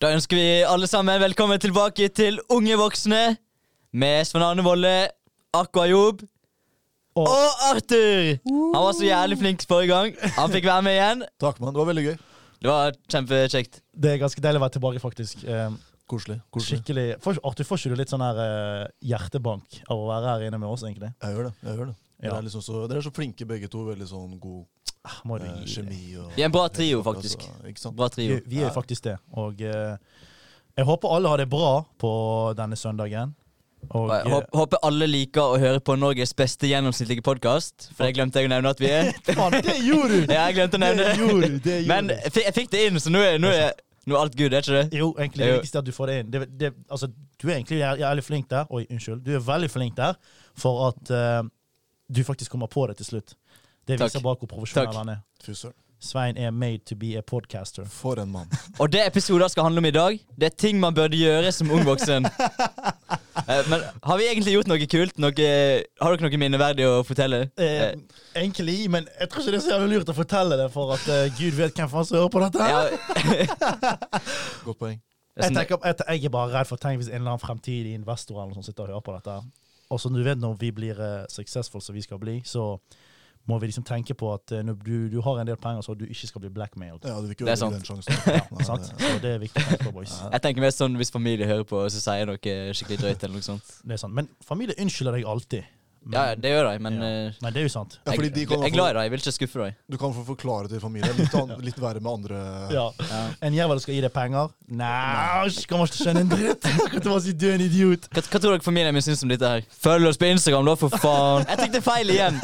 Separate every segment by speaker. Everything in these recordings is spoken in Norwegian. Speaker 1: Da ønsker vi alle sammen velkommen tilbake til Unge voksne med Svein Arne Volle, Akwajob
Speaker 2: Og-
Speaker 1: og Arthur. Han var så jævlig flink forrige gang. Han fikk være med igjen.
Speaker 3: Takk, mann. Det var veldig gøy.
Speaker 1: Det var kjempekjekt.
Speaker 2: Det er ganske deilig å være tilbake, faktisk. Eh,
Speaker 3: Koselig. koselig.
Speaker 2: Skikkelig. Får, Arthur, får ikke du litt sånn her eh, hjertebank av å være her inne med oss, egentlig?
Speaker 3: Jeg gjør det. jeg gjør det.
Speaker 2: Ja.
Speaker 3: Dere, er liksom så, dere er så flinke begge to. Veldig sånn god
Speaker 2: Ah, Må du
Speaker 3: eh,
Speaker 2: gi deg.
Speaker 3: kjemi. Og,
Speaker 1: Vi er en bra trio, faktisk.
Speaker 3: Altså, ikke sant?
Speaker 1: Bra trio.
Speaker 2: Vi, vi er faktisk det. Og eh, jeg håper alle har det bra på denne søndagen. Og
Speaker 1: Jeg
Speaker 2: eh,
Speaker 1: håp- Håper alle liker å høre på Norges beste gjennomsnittlige podkast. For det glemte jeg å nevne at vi er.
Speaker 3: Faen, det gjorde du!
Speaker 1: Ja, jeg glemte å nevne
Speaker 3: Det gjorde du! Det
Speaker 1: det.
Speaker 3: gjorde
Speaker 1: Men
Speaker 3: du.
Speaker 1: jeg fikk- jeg fikk det inn, så nå er, nå er, nå er alt good, er ikke det?
Speaker 2: Jo, egentlig det
Speaker 1: Jo.
Speaker 2: viktigste er at du får det inn. Det, det, altså, du er egentlig jæ- jævlig flink der. Oi, unnskyld. Du er veldig flink der for at eh, du faktisk kommer på det til slutt. Det
Speaker 1: Takk.
Speaker 2: viser bare hvor profesjonell
Speaker 1: Takk.
Speaker 2: han er.
Speaker 3: Fy søren.
Speaker 2: Svein er made to be a podcaster.
Speaker 3: For en mann.
Speaker 1: Og det episoder skal handle om i dag, det er ting man burde gjøre som ung voksen. Eh, Men har vi egentlig gjort noe kult? Noe, har dere noe minneverdig å fortelle?
Speaker 2: Eh,
Speaker 1: Eh,
Speaker 2: egentlig, men jeg tror ikke det er så jævlig lurt å fortelle det, for at eh, gud vet hvem faen som hører på dette. her.
Speaker 1: ja,
Speaker 3: Godt poeng.
Speaker 1: det er
Speaker 2: Jeg,
Speaker 1: sånn-
Speaker 2: tenker, jeg, jeg er bare redd for tenk hvis en eller annen fremtidig investor eller noe sånt sitter og hører på dette. her. Og som du vet, når vi blir uh, successful som vi skal bli, så må vi liksom tenke på at eh, når du, du har en del penger, så du ikke skal bli blackmailed.
Speaker 3: Ja, du vil ikke
Speaker 1: Det er
Speaker 3: ødelegge den sjansen. Ja, nei,
Speaker 2: Sant?
Speaker 3: det-
Speaker 2: Så det er viktig å tenke på, boys.
Speaker 1: jeg tenker mer sånn hvis familie hører på, og så sier jeg noe skikkelig drøyt eller noe sånt.
Speaker 2: Det er sant. Men familie unnskylder deg alltid. Men,
Speaker 1: Ja, ja, det gjør de, men
Speaker 2: ja.
Speaker 1: eh,
Speaker 2: Men det er jo sant.
Speaker 3: Ja, fordi
Speaker 1: jeg,
Speaker 3: de
Speaker 1: jeg
Speaker 3: kan
Speaker 1: er
Speaker 3: få-
Speaker 1: glad i deg, jeg vil ikke skuffe deg.
Speaker 3: Du kan få forklare til familien. Litt, an, litt verre med andre
Speaker 2: Ja. En jævel skal gi deg penger? Nei, jeg kommer ikke til å skjønne en dritt! Jeg kommer til å bare si du er en idiot.
Speaker 1: Hva, hva tror dere familien min syns om dette her? Følg oss på Instagram, da, for faen! Jeg tenkte feil igjen.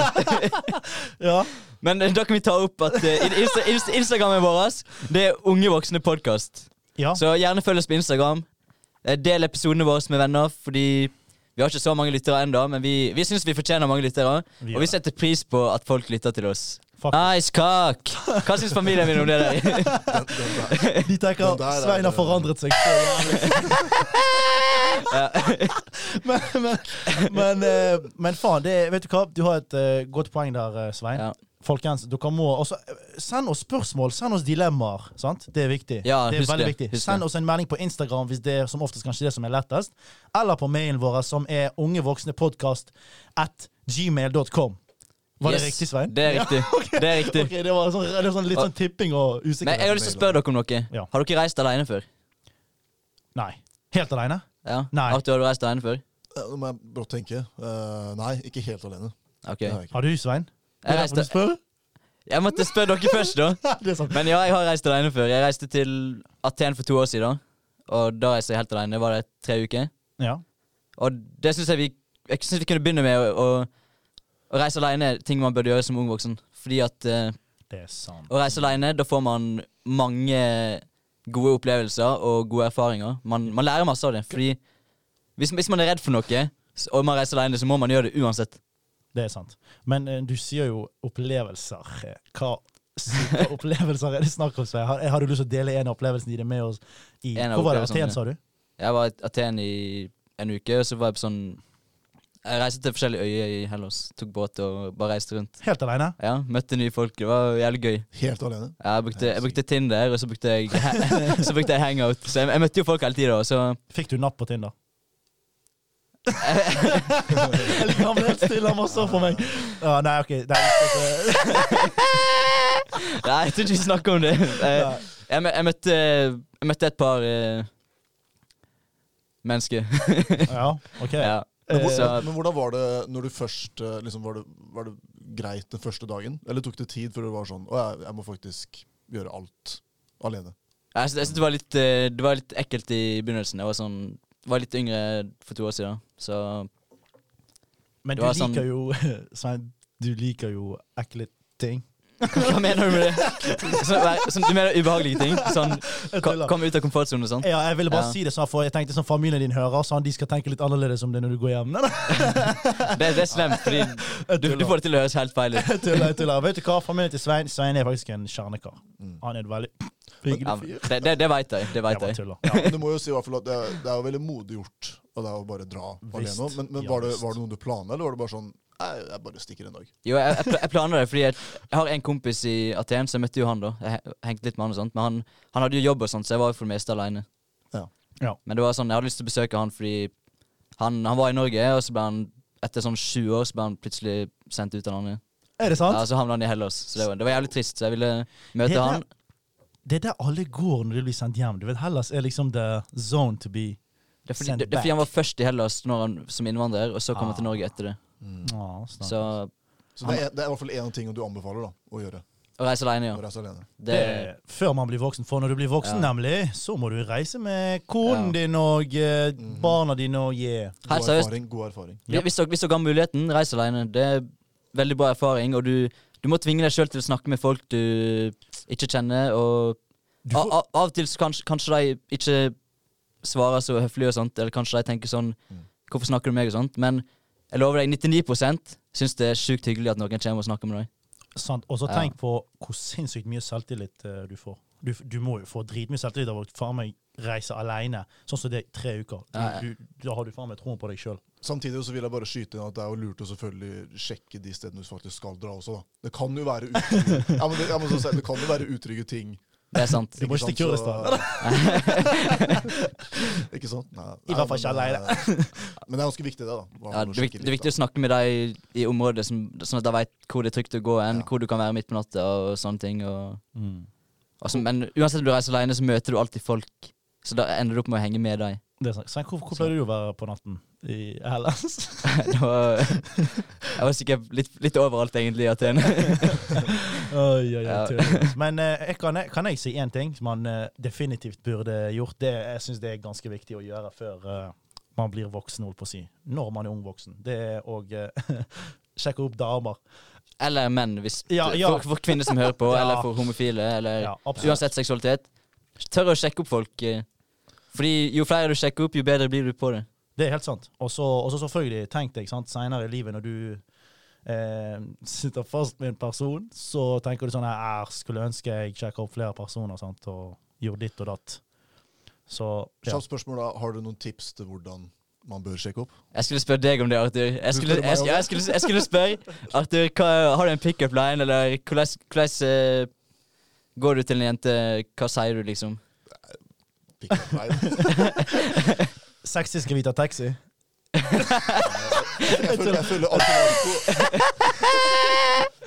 Speaker 2: Ja.
Speaker 1: Men eh, da kan vi ta opp at eh, Insta, Insta, Instagrammen vår det er Unge voksne podkast.
Speaker 2: ja.
Speaker 1: Så gjerne følg oss på Instagram. Eh, Del episodene våre med venner, fordi vi har ikke så mange lyttere ennå, men vi, vi syns vi fortjener mange lyttere.
Speaker 2: Vi gjør
Speaker 1: Og vi
Speaker 2: det.
Speaker 1: setter pris på at folk lytter til oss.
Speaker 2: Faktisk.
Speaker 1: Nice cock! Hva syns familien min om det der?
Speaker 3: Den, den der.
Speaker 2: De tenker
Speaker 3: Den der er-
Speaker 2: Svein har forandret seg. så jævlig». men, men, men, eh, men faen, det, vet du hva? Du har et eh, godt poeng der, eh, Svein.
Speaker 1: Ja.
Speaker 2: Folkens, dere må også eh, Send oss spørsmål, send oss dilemmaer. sant? Det er viktig.
Speaker 1: Ja,
Speaker 2: det er
Speaker 1: husk
Speaker 2: veldig
Speaker 1: det,
Speaker 2: viktig.
Speaker 1: husk
Speaker 2: Send
Speaker 1: det.
Speaker 2: oss en melding på Instagram hvis det er som oftest kanskje det som er lettest. Eller på mailen vår som er ungevoksnepodkast at gmail.com. Var det
Speaker 1: Yes,
Speaker 2: riktig, Svein?
Speaker 1: Det er riktig. Det er riktig.
Speaker 2: Ok, det var, sånn, det var sånn, litt sånn tipping og
Speaker 1: Men jeg
Speaker 2: usikkerhet.
Speaker 1: har lyst til å spørre dere om noe.
Speaker 2: Ja.
Speaker 1: Har dere reist alene før?
Speaker 2: Nei. Helt aleine?
Speaker 1: Ja.
Speaker 2: Nei.
Speaker 1: Arthur, har du reist alene før?
Speaker 3: Ja, Nå må jeg brått tenke. Eh, nei, ikke helt alene.
Speaker 1: Ok.
Speaker 3: Det har jeg ikke.
Speaker 2: Har du, Svein?
Speaker 1: Jeg,
Speaker 2: Må du
Speaker 1: reiste,
Speaker 2: spørre?
Speaker 1: jeg måtte spørre dere først, da.
Speaker 2: Det er sant.
Speaker 1: Men ja, jeg har reist alene før. Jeg reiste til Aten for to år siden. Og da reiste jeg helt alene. Var det tre uker?
Speaker 2: Ja.
Speaker 1: Og det syns jeg vi Jeg synes vi kunne begynne med å, å, å reise alene. er Ting man burde gjøre som ung voksen. Fordi at eh,
Speaker 2: Det er sant.
Speaker 1: å reise alene, da får man mange gode opplevelser og gode erfaringer. Man, man lærer masse av det. Fordi hvis, hvis man er redd for noe, s- og man reiser alene, så må man gjøre det uansett.
Speaker 2: Det er sant. Men eh, du sier jo opplevelser. eh, Hva syke opplevelser er det snakk om? Svein? Har, eh, har du lyst til å dele en av opplevelsene dine med oss? I,
Speaker 1: En av
Speaker 2: hvor var det?
Speaker 1: opplevelsene
Speaker 2: Aten, sa du?
Speaker 1: Jeg var i Aten i en uke, og så var jeg på sånn Jeg reiste til forskjellige øyer i Hellas. Tok båt og bare reiste rundt.
Speaker 2: Helt aleine?
Speaker 1: Ja, Møtte nye folk. Det var jævlig gøy.
Speaker 3: Helt alene.
Speaker 1: Ja, jeg brukte, jeg brukte Tinder, og så brukte jeg, så brukte jeg Hangout. Så jeg, jeg møtte jo folk hele tida. Så
Speaker 2: Fikk du napp på Tinder? Jeg ligger han ble helt stille, han var så for meg. Ja, nei, ok. Nei, det er-
Speaker 1: Nei, jeg tror ikke vi snakker om det. Eh, Jeg, mø- jeg, møtte, jeg møtte et par eh, mennesker.
Speaker 2: eh, ja, ok.
Speaker 1: Ja.
Speaker 3: Men, hvor,
Speaker 1: Så
Speaker 3: men hvordan var det når du først eh, liksom, var, det, var det greit den første dagen? Eller tok det tid før du var sånn Å, jeg, jeg må faktisk gjøre alt alene.
Speaker 1: jeg, sy- jeg synes det var litt eh, Det var litt ekkelt i begynnelsen. Jeg var sånn var litt yngre for to år siden. Så
Speaker 2: Men
Speaker 1: Det
Speaker 2: du
Speaker 1: var
Speaker 2: liker
Speaker 1: sånn-
Speaker 2: jo Svein, du liker jo ekle ting.
Speaker 1: hva mener du med det? Sånn, nei, sånn, du mener ubehagelige ting? Sånn
Speaker 2: Jeg
Speaker 1: ko-
Speaker 2: tuller.
Speaker 1: komme ut av komfortsonen og sånn?
Speaker 2: Ja, jeg ville bare
Speaker 1: Ja.
Speaker 2: si det sånn, for jeg tenkte sånn familien din hører, sånn de skal tenke litt annerledes om det når du går hjem. Nei, nei,
Speaker 1: Det, det er slemt, fordi du, du får det til å høres helt feil ut.
Speaker 2: jeg tuller, jeg tuller. Vet du hva, familien til Svein Svein er faktisk en kjernekar. Han er en veldig
Speaker 1: Mm. Ja,
Speaker 2: hyggelig fyr.
Speaker 1: men det det, det veit jeg. Det
Speaker 2: Jeg
Speaker 1: vet
Speaker 2: bare
Speaker 1: jeg.
Speaker 2: tuller.
Speaker 3: Ja, men du må jo si i hvert fall at det, er- det er jo veldig modig gjort av deg å bare dra
Speaker 2: Visst.
Speaker 3: alene. Men, men
Speaker 2: Ja,
Speaker 3: var, det,
Speaker 2: visst.
Speaker 3: var det noe du planla, eller var det bare sånn Nei, jeg bare stikker en dag.
Speaker 1: Jo, jeg, jeg, pla- jeg planla det fordi jeg, jeg har en kompis i Aten, så jeg møtte jo han da. Jeg he- hengte litt med han og sånt, men han, han hadde jo jobb og sånt, så jeg var jo for det meste aleine.
Speaker 3: Ja.
Speaker 2: Ja.
Speaker 1: Men det var sånn, jeg hadde lyst til å besøke han fordi han, han var i Norge, og så ble han etter sånn sju år så ble han plutselig sendt ut av landet.
Speaker 2: Er det sant?
Speaker 1: Ja, så havna han i Hellas. Så det var, det var jævlig trist, så jeg ville møte
Speaker 2: Hele-
Speaker 1: han.
Speaker 2: Det er der alle går når de blir sendt hjem. Du vet, Hellas er liksom the zone to be.
Speaker 1: Det er fordi,
Speaker 2: Send
Speaker 1: det, det er fordi
Speaker 2: back.
Speaker 1: han var først i Hellas når han, som innvandrer, og så kom han til
Speaker 2: Ah.
Speaker 1: Norge etter det.
Speaker 2: Å, snart.
Speaker 1: Så
Speaker 3: Så det er, det er i hvert fall en av tingene du anbefaler da, å gjøre.
Speaker 1: å reise alene,
Speaker 3: Å
Speaker 1: ja.
Speaker 3: reise alene.
Speaker 1: Det,
Speaker 2: Det- før man blir voksen. For når du blir voksen,
Speaker 1: Ja.
Speaker 2: nemlig, så må du reise med konen
Speaker 1: Ja. Mhm.
Speaker 2: din og eh, barna dine og yeah.
Speaker 1: Helt
Speaker 3: God
Speaker 1: seriøst.
Speaker 3: erfaring. god erfaring.
Speaker 1: Hvis- Hvis dere, hvis dere har muligheten, reis alene. Det er veldig bra erfaring, og du, du må tvinge deg sjøl til å snakke med folk du ikke kjenner, og
Speaker 2: Du
Speaker 1: a, a, av og til så kanskje, kanskje de ikke svarer så høflig og sånt, eller kanskje de tenker sånn Hvorfor snakker du med meg og sånt? Men jeg lover deg, 99 syns det er sjukt hyggelig at noen kommer og snakker med deg.
Speaker 2: Sant. Og så
Speaker 1: Ja.
Speaker 2: tenk på hvor sinnssykt mye selvtillit eh, du får. Du, du må jo få dritmye selvtillit av å faen meg reise alene, sånn som det er i tre uker. Du,
Speaker 1: Ja, ja.
Speaker 2: du, da har du faen meg troen på deg sjøl.
Speaker 3: Samtidig så vil jeg bare skyte inn at det er jo lurt å selvfølgelig sjekke de stedene du faktisk skal dra også, da. Det kan jo være utrygge, ja, men det, ja, men som sagt, det kan jo være utrygge ting.
Speaker 1: Det er sant.
Speaker 2: Du må ikke
Speaker 3: sant,
Speaker 2: til
Speaker 3: så-
Speaker 2: Kurdistan.
Speaker 3: ikke sant? Nei,
Speaker 2: I hvert fall ikke
Speaker 3: men,
Speaker 2: alene.
Speaker 3: eh, Men det er ganske viktig, det, da.
Speaker 1: Ja,
Speaker 3: Hva man
Speaker 1: det, er
Speaker 3: sjekker
Speaker 1: viktig, det er
Speaker 3: litt,
Speaker 1: viktig å snakke med deg i området, som, sånn at de veit hvor det er trygt å gå hen,
Speaker 3: Ja.
Speaker 1: hvor du kan være midt på natta og sånne ting. Og, altså, men uansett om du reiser alene, så møter du alltid folk, så da ender du opp med å henge med deg.
Speaker 2: Det er sant. Svein, hvor, hvor pleier du å være på natten i Hellas?
Speaker 1: det var, jeg var sikkert litt, litt overalt, egentlig, i Aten.
Speaker 2: Oi, oi, oi,
Speaker 1: Ja.
Speaker 2: tull. Men eh, jeg kan, kan jeg si én ting som man eh, definitivt burde gjort? Det, jeg syns det er ganske viktig å gjøre før eh, man blir voksen, holdt på å si. Når man er ung voksen. Det er å eh, sjekke opp damer.
Speaker 1: Eller menn, hvis
Speaker 2: Ja, ja.
Speaker 1: For, for kvinner som hører på,
Speaker 2: Ja.
Speaker 1: eller for homofile, eller
Speaker 2: Ja, absolutt.
Speaker 1: uansett seksualitet. Tør å sjekke opp folk. eh, Fordi jo flere du sjekker opp, jo bedre blir du på det.
Speaker 2: Det er helt sant. Og så og så selvfølgelig, tenk deg sant, senere i livet når du eh, sitter fast med en person, så tenker du sånn her «Æ, Skulle ønske jeg sjekka opp flere personer sant, og gjorde ditt og datt. Så
Speaker 3: da.
Speaker 2: ja.
Speaker 3: Kjapt spørsmål, da. Har du noen tips til hvordan man bør sjekke opp?
Speaker 1: Jeg skulle spørre deg om det, Arthur. Jeg
Speaker 3: Du
Speaker 1: skulle,
Speaker 3: spør meg
Speaker 1: jeg,
Speaker 3: om
Speaker 1: skulle- jeg, skulle, jeg skulle spørre Arthur, hva, har du en pickup line, eller hvordan hvordan, eh, går du til en jente? Hva sier du, liksom?
Speaker 3: Fikk jeg feil?
Speaker 2: Sexy skal vi ta taxi.
Speaker 3: Jeg føler, jeg føler alltid Arko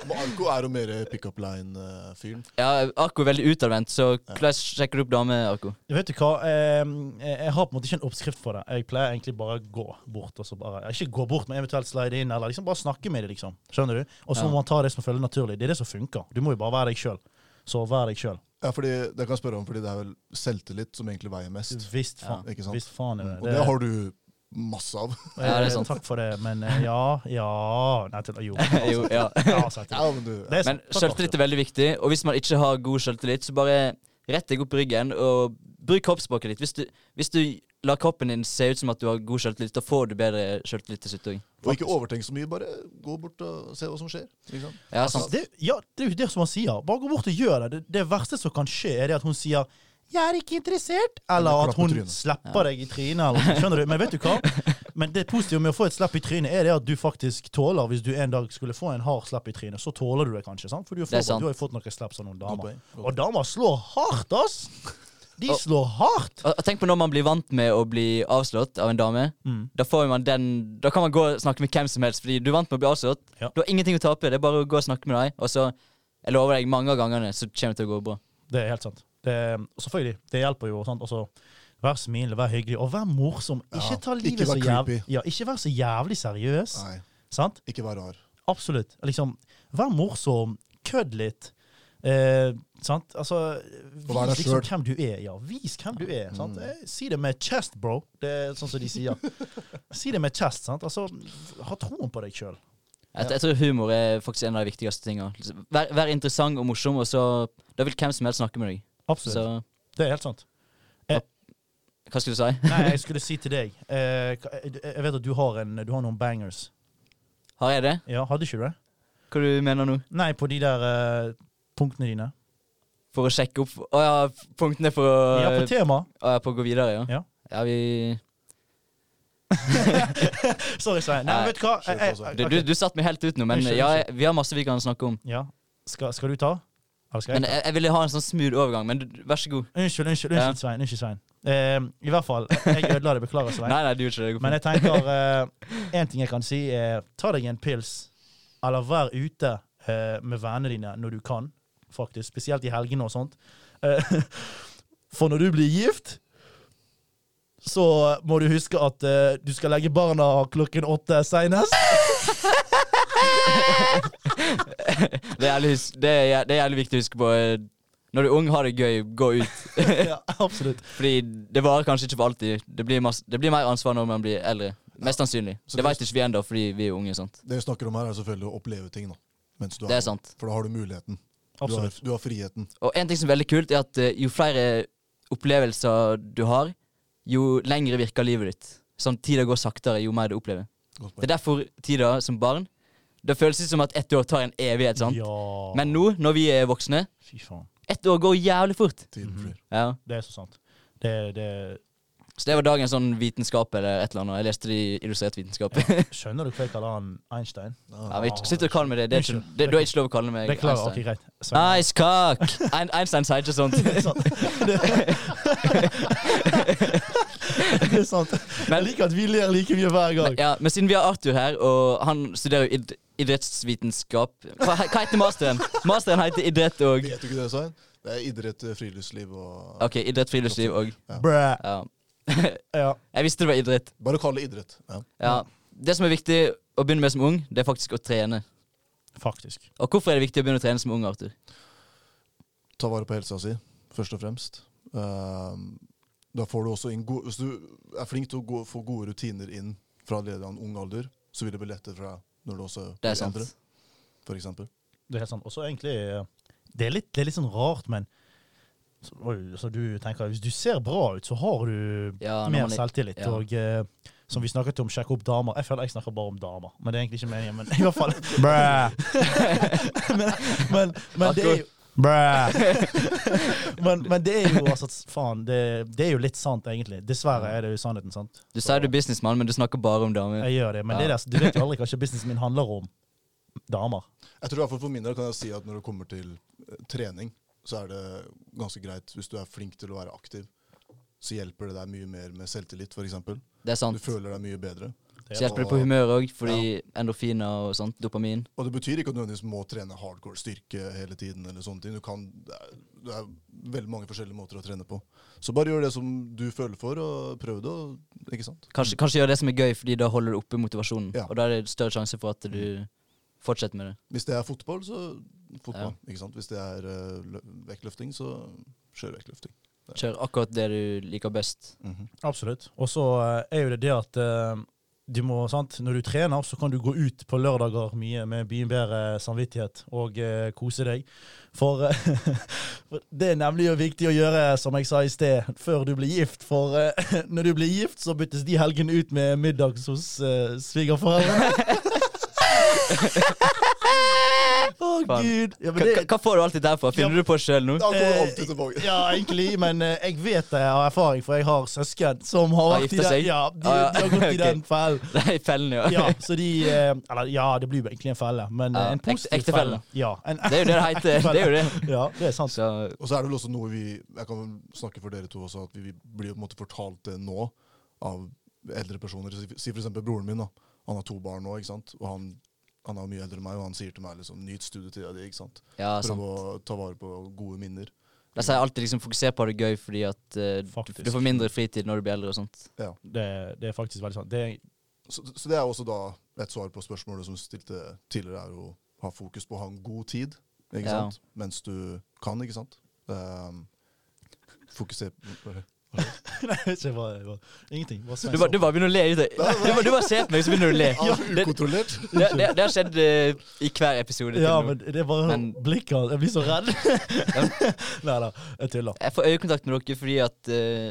Speaker 3: Men Arko er jo mer pickup line-fyren.
Speaker 1: Ja, Arko er veldig utadvendt, så hvordan sjekker du opp damer, Arko?
Speaker 2: Vet du hva, eh, jeg har på en måte ikke en oppskrift for det. Jeg pleier egentlig bare å gå bort. Og så bare, ikke gå bort, men eventuelt slide inn, eller liksom bare snakke med dem, liksom. Skjønner du? Og så må
Speaker 1: Ja.
Speaker 2: man ta det som føles naturlig. Det er det som funker. Du må jo bare være deg sjøl. Så vær deg sjøl.
Speaker 3: Ja, fordi, det kan jeg spørre om, fordi det er vel selvtillit som egentlig veier mest.
Speaker 2: Visst faen.
Speaker 3: Ikke sant? Mm.
Speaker 2: Visst faen er det.
Speaker 3: Og det har du masse av.
Speaker 2: eh,
Speaker 1: Ja, det er sant.
Speaker 2: Takk for det, men eh, ja, ja Nei, til, jo.
Speaker 1: Jo, ja.
Speaker 2: Ja, sagt det.
Speaker 3: Ja, men
Speaker 2: Det
Speaker 3: du,
Speaker 2: er
Speaker 1: Men
Speaker 2: sant. Takk,
Speaker 1: selvtillit er veldig viktig, og hvis man ikke har god selvtillit, så bare rett deg opp i ryggen og bruk kroppsspråket ditt. Hvis du, hvis du lar kroppen din se ut som at du har god selvtillit, da får du bedre selvtillit til slutt òg.
Speaker 3: Og ikke overtenk så mye, bare gå bort og se hva som skjer. Ikke sant?
Speaker 1: Ja,
Speaker 2: Altså,
Speaker 1: sant.
Speaker 2: det, ja, det er jo det som han sier. Bare gå bort og gjør det. det. Det verste som kan skje, er det at hun sier 'jeg er ikke interessert', eller
Speaker 3: Eller
Speaker 2: at
Speaker 3: klapp på
Speaker 2: hun
Speaker 3: trynet.
Speaker 2: slipper deg i trynet. Eller, noe, skjønner du? Men vet du hva? Men det positive med å få et slapp i trynet, er det at du faktisk tåler Hvis du en dag skulle få en hard slapp i trynet, så tåler du det kanskje. sant? For du, er
Speaker 1: Det er
Speaker 2: forberedt.
Speaker 1: sant.
Speaker 2: du har jo fått noen slaps av noen damer.
Speaker 3: poeng.
Speaker 2: Og damer slår hardt, ass! De slår hardt!
Speaker 1: Og- og Tenk på når man blir vant med å bli avslått av en dame.
Speaker 3: Mm.
Speaker 1: Da, får man den, da kan man gå og snakke med hvem som helst, fordi du er vant med å bli avslått.
Speaker 2: Ja.
Speaker 1: Du har ingenting å tape. Det er bare å gå og snakke med deg, og så Jeg lover deg, mange av gangene så kommer det til å gå bra.
Speaker 2: Det er helt sant. Det, selvfølgelig. Det hjelper jo. sant? Altså, vær smilende, vær hyggelig, og vær morsom. Ikke
Speaker 3: Ja,
Speaker 2: ta
Speaker 3: ikke
Speaker 2: livet
Speaker 3: vær
Speaker 2: så jævlig
Speaker 3: creepy.
Speaker 2: Ja, ikke vær så jævlig seriøs.
Speaker 3: Nei,
Speaker 2: Sant?
Speaker 3: ikke vær rar.
Speaker 2: Absolutt. Liksom, vær morsom, kødd litt. Eh, sant? Altså, vis
Speaker 3: vær deg
Speaker 2: liksom
Speaker 3: selv. Mm.
Speaker 2: hvem du er. Ja, vis hvem du er. Sant? Eh, si det med chest, bro. Det er sånn som de sier. si det med chest. sant? Altså, ha troen på deg sjøl.
Speaker 1: Jeg, jeg tror humor er faktisk en av de viktigste tinga. Vær, vær interessant og morsom, og så Da vil hvem som helst snakke med deg.
Speaker 2: Absolutt.
Speaker 1: Så
Speaker 2: Det er helt sant.
Speaker 1: hva skulle du si?
Speaker 2: Nei, jeg skulle si til deg eh, hva- Jeg vet at du har, en, du har noen bangers.
Speaker 1: Har jeg det?
Speaker 2: Ja, Hadde ikke du det?
Speaker 1: Hva du mener nå?
Speaker 2: Nei, på de der eh, punktene dine.
Speaker 1: For å sjekke opp Å ja, punktene for å
Speaker 2: Ja, på tema.
Speaker 1: Å ja, på å gå videre, ja.
Speaker 2: Ja.
Speaker 1: Ja, vi
Speaker 2: Sorry, Svein. Nei,
Speaker 1: Nei,
Speaker 2: vet du hva? Eh,
Speaker 3: kjør på,
Speaker 2: Jeg- jeg-
Speaker 3: Svein.
Speaker 1: Du, du, du satte meg helt ut nå, men
Speaker 2: Unnskyld,
Speaker 1: ja, jeg- vi har masse vi kan snakke om.
Speaker 2: Ja. Skal, skal du ta? Eller skal jeg
Speaker 1: Men
Speaker 2: ta?
Speaker 1: jeg, jeg ville ha en sånn smooth overgang, men du, vær så god.
Speaker 2: Unnskyld, unnskyld,
Speaker 1: Ja.
Speaker 2: unnskyld, Svein. Unnskyld, Svein. Eh, I hvert fall. Jeg ødela det, beklager så lenge.
Speaker 1: Nei, nei, du gjør ikke det. det. går
Speaker 2: Men
Speaker 1: fint.
Speaker 2: jeg tenker Én ting jeg kan si, er ta deg en pils, eller vær ute eh, med vennene dine når du kan, faktisk. Spesielt i helgene og sånt. Eh, for når du blir gift, så må du huske at eh, du skal legge barna klokken åtte seinest.
Speaker 1: Det er, jævlig, hus- det, er, jæ- det er jævlig viktig å huske på. eh, Når du er ung, ha det gøy, gå ut.
Speaker 2: ja, absolutt.
Speaker 1: Fordi det varer kanskje ikke for alltid. Det blir, masse, det blir mer ansvar når man blir eldre. Mest sannsynlig.
Speaker 3: Så
Speaker 1: det
Speaker 3: det-
Speaker 1: veit ikke vi ennå, fordi vi er unge. sant?
Speaker 3: Det vi snakker om her, er selvfølgelig å oppleve ting. da. Mens du
Speaker 1: Det er
Speaker 3: ung.
Speaker 1: sant.
Speaker 3: For da har du muligheten. Du har,
Speaker 2: Absolutt.
Speaker 3: du har friheten.
Speaker 1: Og en ting som er veldig kult, er at eh, jo flere opplevelser du har, jo lengre virker livet ditt. Sånn tida går saktere jo mer du opplever. Det
Speaker 3: Godt poeng.
Speaker 1: er derfor tida som barn Det føles det som at ett år tar en evighet, sant?
Speaker 2: Ja.
Speaker 1: Men nå, når vi er voksne,
Speaker 2: Fy faen.
Speaker 1: ett år går jævlig fort.
Speaker 3: Tiden flyr.
Speaker 1: Ja.
Speaker 2: Det er så sant. Det, det
Speaker 1: Så det var dagens sånn vitenskap eller et eller annet. Jeg leste det i Illustrert vitenskap.
Speaker 2: Skjønner du hva jeg kaller han Einstein?
Speaker 1: Ja, men ikke- Slutt å kalle meg det. det, er ikke,
Speaker 2: Unnskyld.
Speaker 1: det du har ikke lov å kalle meg
Speaker 2: Beklager. Ok,
Speaker 1: Einstein.
Speaker 2: greit. Svein.
Speaker 1: Nice cock! Ein, Einstein sier ikke sånt.
Speaker 2: Det er sant. Det er sant. Jeg liker at vi ler like mye hver
Speaker 1: Men,
Speaker 2: gang.
Speaker 1: ja, men siden vi har Arthur her, og han studerer jo id idrettsvitenskap Hva, hva heter masteren? Masteren heter idrett og
Speaker 3: Vet du ikke det, Svein? Det er idrett, eh, friluftsliv og
Speaker 1: Ok, idrett, friluftsliv og
Speaker 2: Bræ.
Speaker 1: ja.
Speaker 2: Ja.
Speaker 1: Jeg visste det var idrett.
Speaker 3: Bare kall det idrett. Ja.
Speaker 1: Ja. Det som er viktig å begynne med som ung, det er faktisk å trene.
Speaker 2: Faktisk.
Speaker 1: Og hvorfor er det viktig å begynne å trene som ung, Arthur?
Speaker 3: Ta vare på helsa si, først og fremst. Ehm, da får du også inn gode, Hvis du er flink til å gå, få gode rutiner inn fra leder av en ung alder, så vil det bli lettere for deg når du også
Speaker 1: Det
Speaker 3: blir
Speaker 1: er sant.
Speaker 3: eldre, for eksempel.
Speaker 2: Det er helt sant. Og så egentlig eh, Det er litt, det er litt sånn rart, men så, oi, så du tenker Hvis du ser bra ut, så har du
Speaker 1: Ja, når
Speaker 2: mer
Speaker 1: man er-
Speaker 2: selvtillit.
Speaker 1: ja.
Speaker 2: Og eh, som vi snakket om, sjekke opp damer. Jeg føler jeg snakker bare om damer, men det er egentlig ikke meningen. Men i hvert fall men, men, men det er jo men, men det er jo altså Faen, det, det er jo litt sant, egentlig. Dessverre er det jo sannheten, sant?
Speaker 1: Du sier du er businessmann, men du snakker bare om damer.
Speaker 2: Jeg gjør det, men det er det, du vet jo aldri hva ikke businessen min handler om. Damer.
Speaker 3: Jeg tror i hvert fall For min del kan jeg si at når det kommer til eh, trening, så er det ganske greit hvis du er flink til å være aktiv. Så hjelper det deg mye mer med selvtillit, f.eks.
Speaker 1: Det er
Speaker 3: Du
Speaker 1: sant.
Speaker 3: føler deg mye bedre.
Speaker 1: Så hjelper det på humøret òg, fordi endorfiner og sånt, dopamin.
Speaker 3: Og det betyr ikke at du nødvendigvis må trene hardcore styrke hele tiden. eller sånne ting. Du kan, det, er, det er veldig mange forskjellige måter å trene på. Så bare gjør det som du føler for, og prøv det. Og, ikke sant?
Speaker 1: Kanskje, kanskje gjør det som er gøy, fordi da holder du oppe motivasjonen.
Speaker 3: Ja.
Speaker 1: Og da er det større sjanse for at du fortsetter med det.
Speaker 3: Hvis det er fotball, så fotball. ikke sant? Hvis det er eh, lø- vektløfting, så kjør vektløfting.
Speaker 1: Kjør akkurat det du liker best.
Speaker 2: Absolutt. Og så eh, er jo det det at eh, du må, sant, når du trener, så kan du gå ut på lørdager mye med mye bedre samvittighet og eh, kose deg. For, eh, for det er nemlig jo viktig å gjøre, som jeg sa i sted, før du blir gift. For eh, når du blir gift, så byttes de helgene ut med middags hos eh, svigerforeldrene. Å,
Speaker 1: Faen.
Speaker 2: gud. Ja,
Speaker 1: Hva,
Speaker 2: men det,
Speaker 1: hva- hva får du alt dette her fra? Finner du på sjøl nå?
Speaker 3: Da går det
Speaker 2: Eh,
Speaker 3: alltid tilbake.
Speaker 2: ja, egentlig, men eh, jeg vet det av erfaring, for jeg har søsken som har,
Speaker 1: Har
Speaker 2: vært i
Speaker 1: gifta
Speaker 2: den-
Speaker 1: seg?
Speaker 2: Ja, de,
Speaker 1: Ah, ja.
Speaker 2: de har gått i
Speaker 1: Ok.
Speaker 2: den fellen.
Speaker 1: Det er i fellen, ja.
Speaker 2: Ja, så de eh, Eller ja, det blir jo egentlig en felle, men eh,
Speaker 1: Ja,
Speaker 2: en
Speaker 1: ekte-
Speaker 2: positiv
Speaker 1: ekte felle.
Speaker 2: Ja, en,
Speaker 1: Det er jo det det heter. Det er jo det.
Speaker 2: ja, det er sant.
Speaker 1: Så
Speaker 3: Og så er det vel også noe vi Jeg kan vel snakke for dere to også, at vi, vi blir jo på en måte fortalt det nå av eldre personer. Si, si for eksempel broren min. da. Han har to barn nå, ikke sant? og han, han er mye eldre enn meg, og han sier til meg liksom, nyt studietida di. ikke sant?
Speaker 1: ja, sant.
Speaker 3: Prøv å ta vare på gode minner.
Speaker 1: De sier alltid liksom fokuser på det gøy fordi at eh, du,
Speaker 2: Faktisk.
Speaker 1: du får mindre fritid når du blir eldre og sånt.
Speaker 2: Det, det er faktisk veldig sant. Det er,
Speaker 3: Så, så det er også da et svar på spørsmålet som stilte tidligere, er å ha fokus på å ha en god tid ikke
Speaker 1: Ja.
Speaker 3: sant? mens du kan, ikke sant? Um, fokuser på
Speaker 2: nei, ikke bare, bare Ingenting. Bare
Speaker 1: Du, bare- du bare begynner å le. Jutta. Du, bare- du bare ser på meg, så begynner du å le.
Speaker 3: Ja,
Speaker 1: Det,
Speaker 3: ukontrollert!
Speaker 1: det, det, det har skjedd eh, i hver episode til
Speaker 2: ja,
Speaker 1: nå.
Speaker 2: men det er bare
Speaker 1: Men-
Speaker 2: blikket hans. Jeg blir så redd. nei da, jeg tuller.
Speaker 1: Jeg får øyekontakt med dere fordi at eh,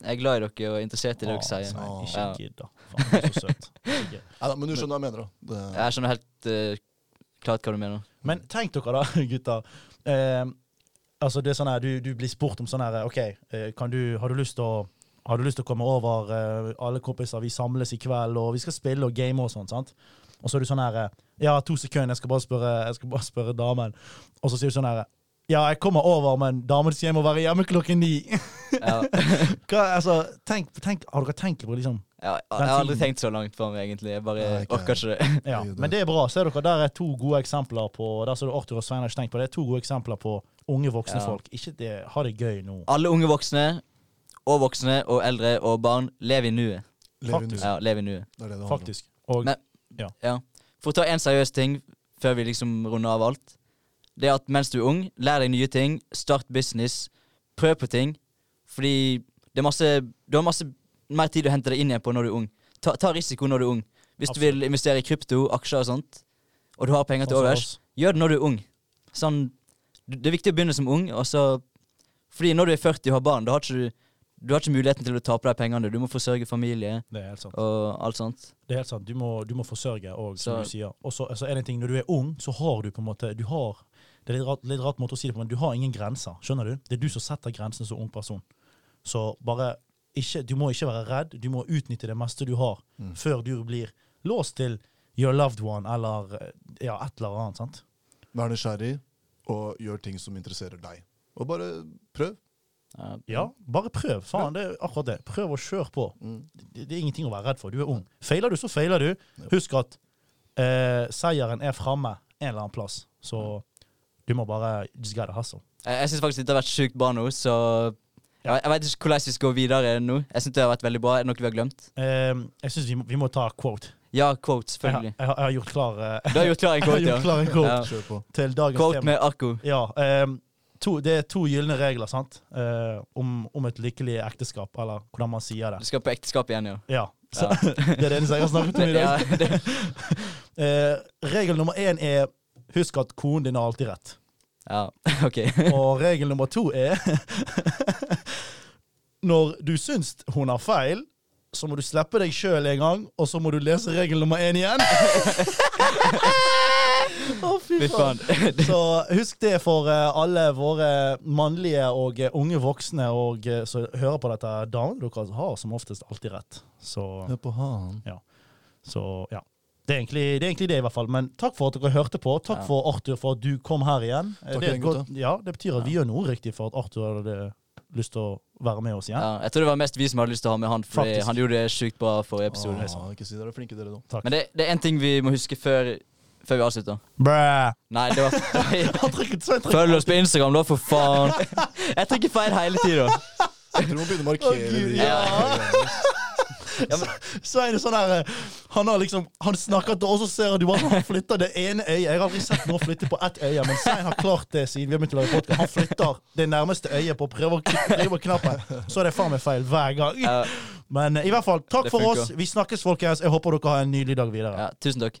Speaker 1: jeg er glad i dere og er interessert i det dere sier.
Speaker 2: Nei,
Speaker 3: Ja.
Speaker 2: ikke gidd, da. Faen, du er så søt. Ikke.
Speaker 3: Neida, men du skjønner hva jeg mener, da. Det,
Speaker 1: Jeg skjønner helt eh, klart hva du mener.
Speaker 2: Men tenk dere da, gutter. Eh, altså det er sånn her, du, du blir spurt om sånn her OK, eh, kan du, har du lyst til å har du lyst til å komme over? Eh, alle kompiser, vi samles i kveld, og vi skal spille og game og sånn. sant? Og så er du sånn her eh, Ja, to sekunder, jeg skal bare spørre, jeg skal bare spørre damen. Og så sier du sånn her Ja, jeg kommer over, men damen sier jeg må være hjemme klokken ni.
Speaker 1: Ja, jeg,
Speaker 2: Hva, altså, tenk, tenk, har dere tenkt på liksom
Speaker 1: jeg, jeg har aldri tenkt så langt for meg, egentlig. Jeg bare
Speaker 3: Nei, ikke
Speaker 1: orker ikke det.
Speaker 2: Ja,
Speaker 3: Det er jo det.
Speaker 2: men det er bra. Ser dere, Der er to gode eksempler på Der så det Arthur og Svein har ikke tenkt på det. er To gode eksempler på unge voksne
Speaker 1: Ja.
Speaker 2: folk. Ikke det, ha det gøy nå.
Speaker 1: Alle unge voksne, og voksne, og eldre, og barn, lev i nuet.
Speaker 3: Lev i
Speaker 2: Faktisk.
Speaker 3: nuet.
Speaker 1: Ja, lev i nuet.
Speaker 3: Det er det det handler om.
Speaker 2: Faktisk. Og
Speaker 1: Men- Ja. For å ta en seriøs ting før vi liksom runder av alt. Det er at mens du er ung, lær deg nye ting, start business, prøv på ting. Fordi det er masse, du har masse mer tid å hente deg inn igjen på når du er ung. Ta, ta risiko når du er ung. Hvis
Speaker 2: Absolutt.
Speaker 1: du vil investere i krypto, aksjer og sånt, og du har penger til
Speaker 2: Sånn som
Speaker 1: overs,
Speaker 2: oss.
Speaker 1: gjør det når du er ung. Sånn, det er viktig å begynne som ung, og så Fordi når du er 40 og har barn, da har ikke du, du har ikke muligheten til å tape deg pengene. Du må forsørge familie
Speaker 2: det er helt sant.
Speaker 1: og alt sånt.
Speaker 2: Det er helt sant. Du må, du må forsørge og som
Speaker 1: Så-
Speaker 2: du sier. Og så altså, er det en ting, når du er ung, så har du på en måte Du har Det er litt rart, litt rart måte å si det på, men du har ingen grenser. Skjønner du? Det er du som setter grensene som ung person. Så bare ikke Du må ikke være redd. Du må utnytte det meste du har,
Speaker 3: Mm.
Speaker 2: før du blir låst til your loved one eller ja, et eller annet. sant?
Speaker 3: Vær nysgjerrig, og gjør ting som interesserer deg. Og bare prøv.
Speaker 1: Ja.
Speaker 2: Ja, bare prøv. Faen, det er akkurat det. Prøv å kjøre på.
Speaker 3: Mm.
Speaker 2: Det, det er ingenting å være redd for. Du er ung. Feiler du, så feiler du. Husk at eh, seieren er framme en eller annen plass. Så du må bare Just gotta hustle.
Speaker 1: Jeg, jeg syns faktisk dette har vært sjukt bra nå, så jeg, jeg vet ikke hvordan vi skal gå videre nå. Jeg syns det har vært veldig bra. Er det noe vi har glemt?
Speaker 2: Eh, jeg syns vi, må- vi må ta quote.
Speaker 1: Ja, quote,
Speaker 2: Jeg, har-
Speaker 1: selvfølgelig.
Speaker 2: jeg, har- jeg har gjort klar, eh,
Speaker 1: Du har gjort klar en
Speaker 2: jeg har
Speaker 1: quote,
Speaker 2: gjort
Speaker 1: ja.
Speaker 2: klar en quote
Speaker 1: Ja.
Speaker 3: Kjør på.
Speaker 2: til dagens
Speaker 1: Quote
Speaker 2: tema.
Speaker 1: med Akko.
Speaker 2: Ja, eh, to, det er to gylne regler sant? Eh, om, om et lykkelig ekteskap, eller hvordan man sier
Speaker 1: Du
Speaker 2: det.
Speaker 1: skal på ekteskap igjen, ja.
Speaker 2: Ja, så,
Speaker 1: ja.
Speaker 2: Det er det eneste jeg har snakket om i dag.
Speaker 1: ja det,
Speaker 2: Eh, regel nummer én er husk at konen din har alltid rett.
Speaker 1: ja, OK.
Speaker 2: Og regel nummer to er Når du syns hun har feil, så må du slippe deg sjøl en gang, og så må du lese regel nummer én igjen. Å, fy
Speaker 1: Fy
Speaker 2: faen.
Speaker 1: faen.
Speaker 2: Så husk det for eh, alle våre mannlige og eh, unge voksne og, eh, som hører på dette. Damene dere har som oftest alltid rett. Så
Speaker 3: Hør på han.
Speaker 2: så ja. Det er, egentlig, det er egentlig det, i hvert fall. Men takk for at dere hørte på. Takk
Speaker 1: Ja.
Speaker 2: for Arthur for at du kom her igjen. Eh,
Speaker 3: Takk
Speaker 2: det, er
Speaker 3: igjen,
Speaker 2: et godt, ja, det betyr at vi
Speaker 1: Ja.
Speaker 2: gjør noe riktig for at Arthur hadde lyst til å være med oss igjen.
Speaker 1: Ja, jeg tror det var mest vi som hadde lyst til å ha med han, for
Speaker 2: Faktisk.
Speaker 1: han gjorde det sjukt bra forrige episode.
Speaker 3: Ah, ikke si dere er flinke, dere, da.
Speaker 2: Takk.
Speaker 1: Men det, det er én ting vi må huske før, før vi avslutter.
Speaker 2: Bræ!
Speaker 1: Nei, det var
Speaker 2: Han trykket så jeg trykket.
Speaker 1: Følg oss på Instagram, da, for faen. Jeg trykker feil hele tida.
Speaker 3: Jeg tror man begynner å markere
Speaker 2: Å, Gud,
Speaker 3: de
Speaker 1: ja.
Speaker 3: greiene.
Speaker 2: Svein er sånn her eh, Han har liksom Han snakker til oss, og så ser jeg du bare sånn, han flytter det ene øyet. Jeg har aldri sett noen flytte på ett øye, men Svein har klart det siden vi har begynt å lage podcast. Han flytter det nærmeste øyet på prøver å klikke på knappen, så er det faen meg feil hver gang.
Speaker 1: Ja,
Speaker 2: Men eh, i hvert fall, takk
Speaker 1: Det
Speaker 2: for
Speaker 1: funker.
Speaker 2: oss. Vi snakkes, folkens. Jeg håper dere har en nydelig dag videre.
Speaker 1: ja, tusen takk.